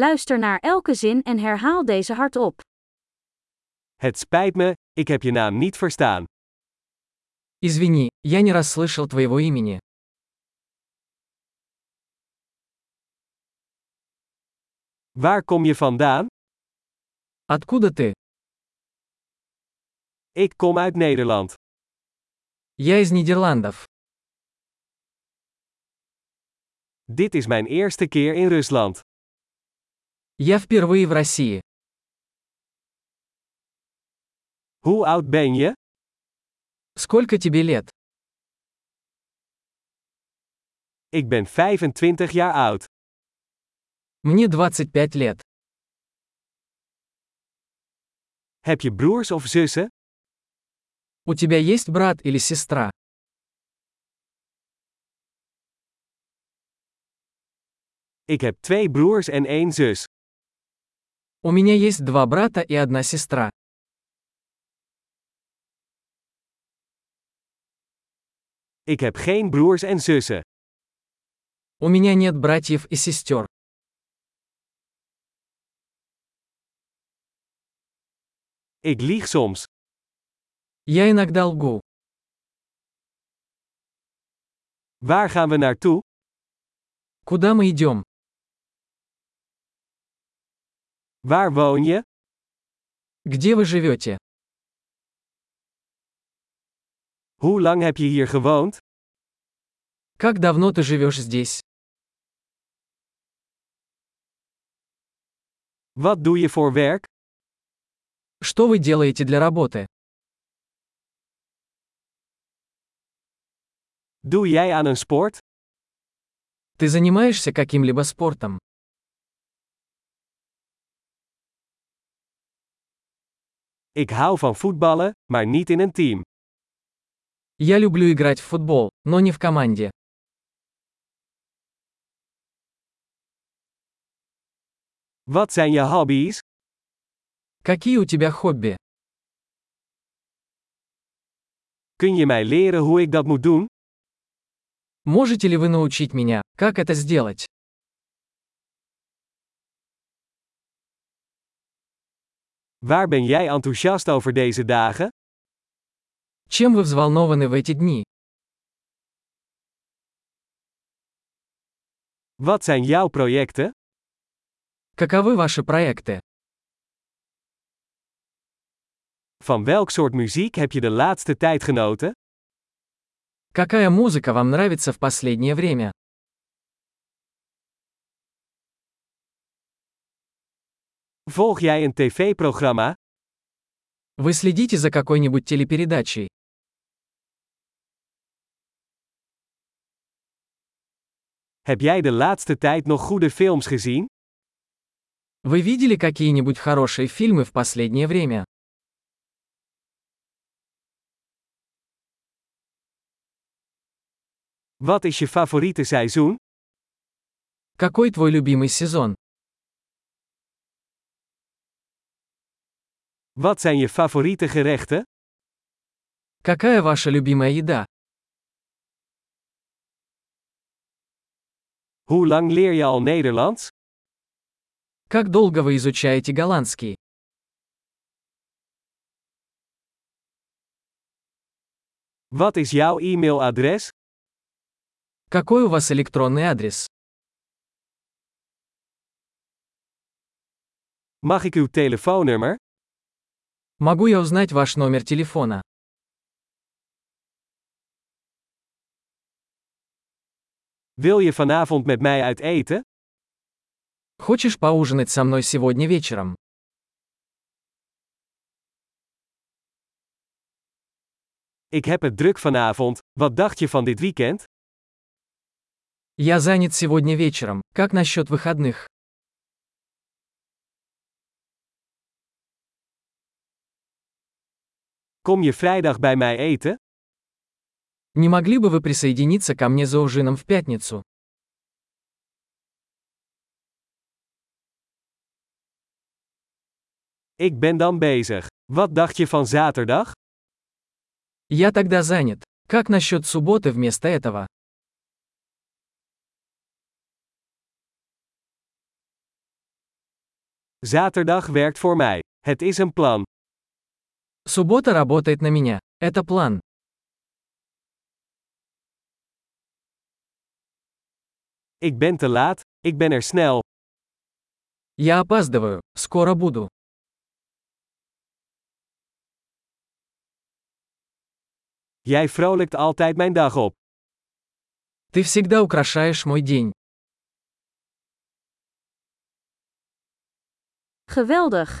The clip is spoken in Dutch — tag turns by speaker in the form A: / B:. A: Luister naar elke zin en herhaal deze hardop.
B: Het spijt me, ik heb je naam niet verstaan.
C: Извини, я не расслышал твоего имени.
B: Waar kom je vandaan?
C: Откуда ты?
B: Ik kom uit Nederland.
C: Я из Нидерландов.
B: Dit is mijn eerste keer in Rusland.
C: Я впервые в России.
B: Hoe oud ben je?
C: Сколько тебе лет?
B: Ik ben 25 jaar oud.
C: Мне 25 лет.
B: Heb je broers of zussen?
C: У тебя есть брат или сестра?
B: Ik heb twee broers en één zus.
C: У меня есть два брата и одна сестра.
B: Ik heb geen broers en zussen.
C: У меня нет братьев и сестер.
B: Ik lieg soms.
C: Я иногда лгу.
B: Waar gaan we naartoe?
C: Куда мы идем?
B: Waar woon je?
C: Где вы живете?
B: Hoe lang heb je hier gewoond?
C: Как давно ты живешь здесь?
B: Wat doe je voor werk?
C: Что вы делаете для работы?
B: Doe jij aan een sport?
C: Ты занимаешься каким-либо спортом?
B: Ik hou van voetballen, maar niet in een team.
C: Я люблю играть в футбол, но не в команде.
B: Wat zijn je hobby's?
C: Какие у тебя хобби?
B: Kun je mij leren hoe ik dat moet doen?
C: Можете ли вы научить меня, как это сделать?
B: Waar ben jij enthousiast over deze dagen?
C: Чем вы взволнованы в эти дни?
B: Wat zijn jouw projecten?
C: Каковы ваши проекты?
B: Van welk soort muziek heb je de laatste tijd genoten?
C: Какая музыка вам нравится в последнее время?
B: Volg jij een tv-programma?
C: Вы следите за какой-нибудь телепередачей?
B: Heb jij de laatste tijd nog goede films gezien?
C: Вы видели какие-нибудь хорошие фильмы в последнее время?
B: Wat is je favoriete seizoen?
C: Какой твой любимый сезон?
B: Wat zijn je favoriete gerechten?
C: Какая ваша любимая еда?
B: Hoe lang leer je al Nederlands?
C: Как долго вы изучаете голландский?
B: Wat is jouw e-mailadres?
C: Какой у вас электронный адрес?
B: Mag ik uw telefoonnummer?
C: Могу я узнать ваш номер телефона?
B: Wil je vanavond met mij uit eten?
C: Хочешь поужинать со мной сегодня вечером?
B: Ik heb het druk vanavond. Wat dacht je van dit weekend?
C: Я занят сегодня вечером. Как насчет выходных?
B: Kom je vrijdag bij mij eten?
C: Не могли бы вы присоединиться ко мне за ужином в пятницу?
B: Ik ben dan bezig. Wat dacht je van zaterdag?
C: Я тогда занят. Как насчет субботы вместо этого?
B: Zaterdag werkt voor mij. Het is een plan.
C: Суббота работает на меня. Это план.
B: Ik ben te laat, ik ben er snel.
C: Я опаздываю. Скоро буду.
B: Jij vrolijkt altijd mijn dag op.
C: Ты всегда украшаешь мой день.
A: Geweldig!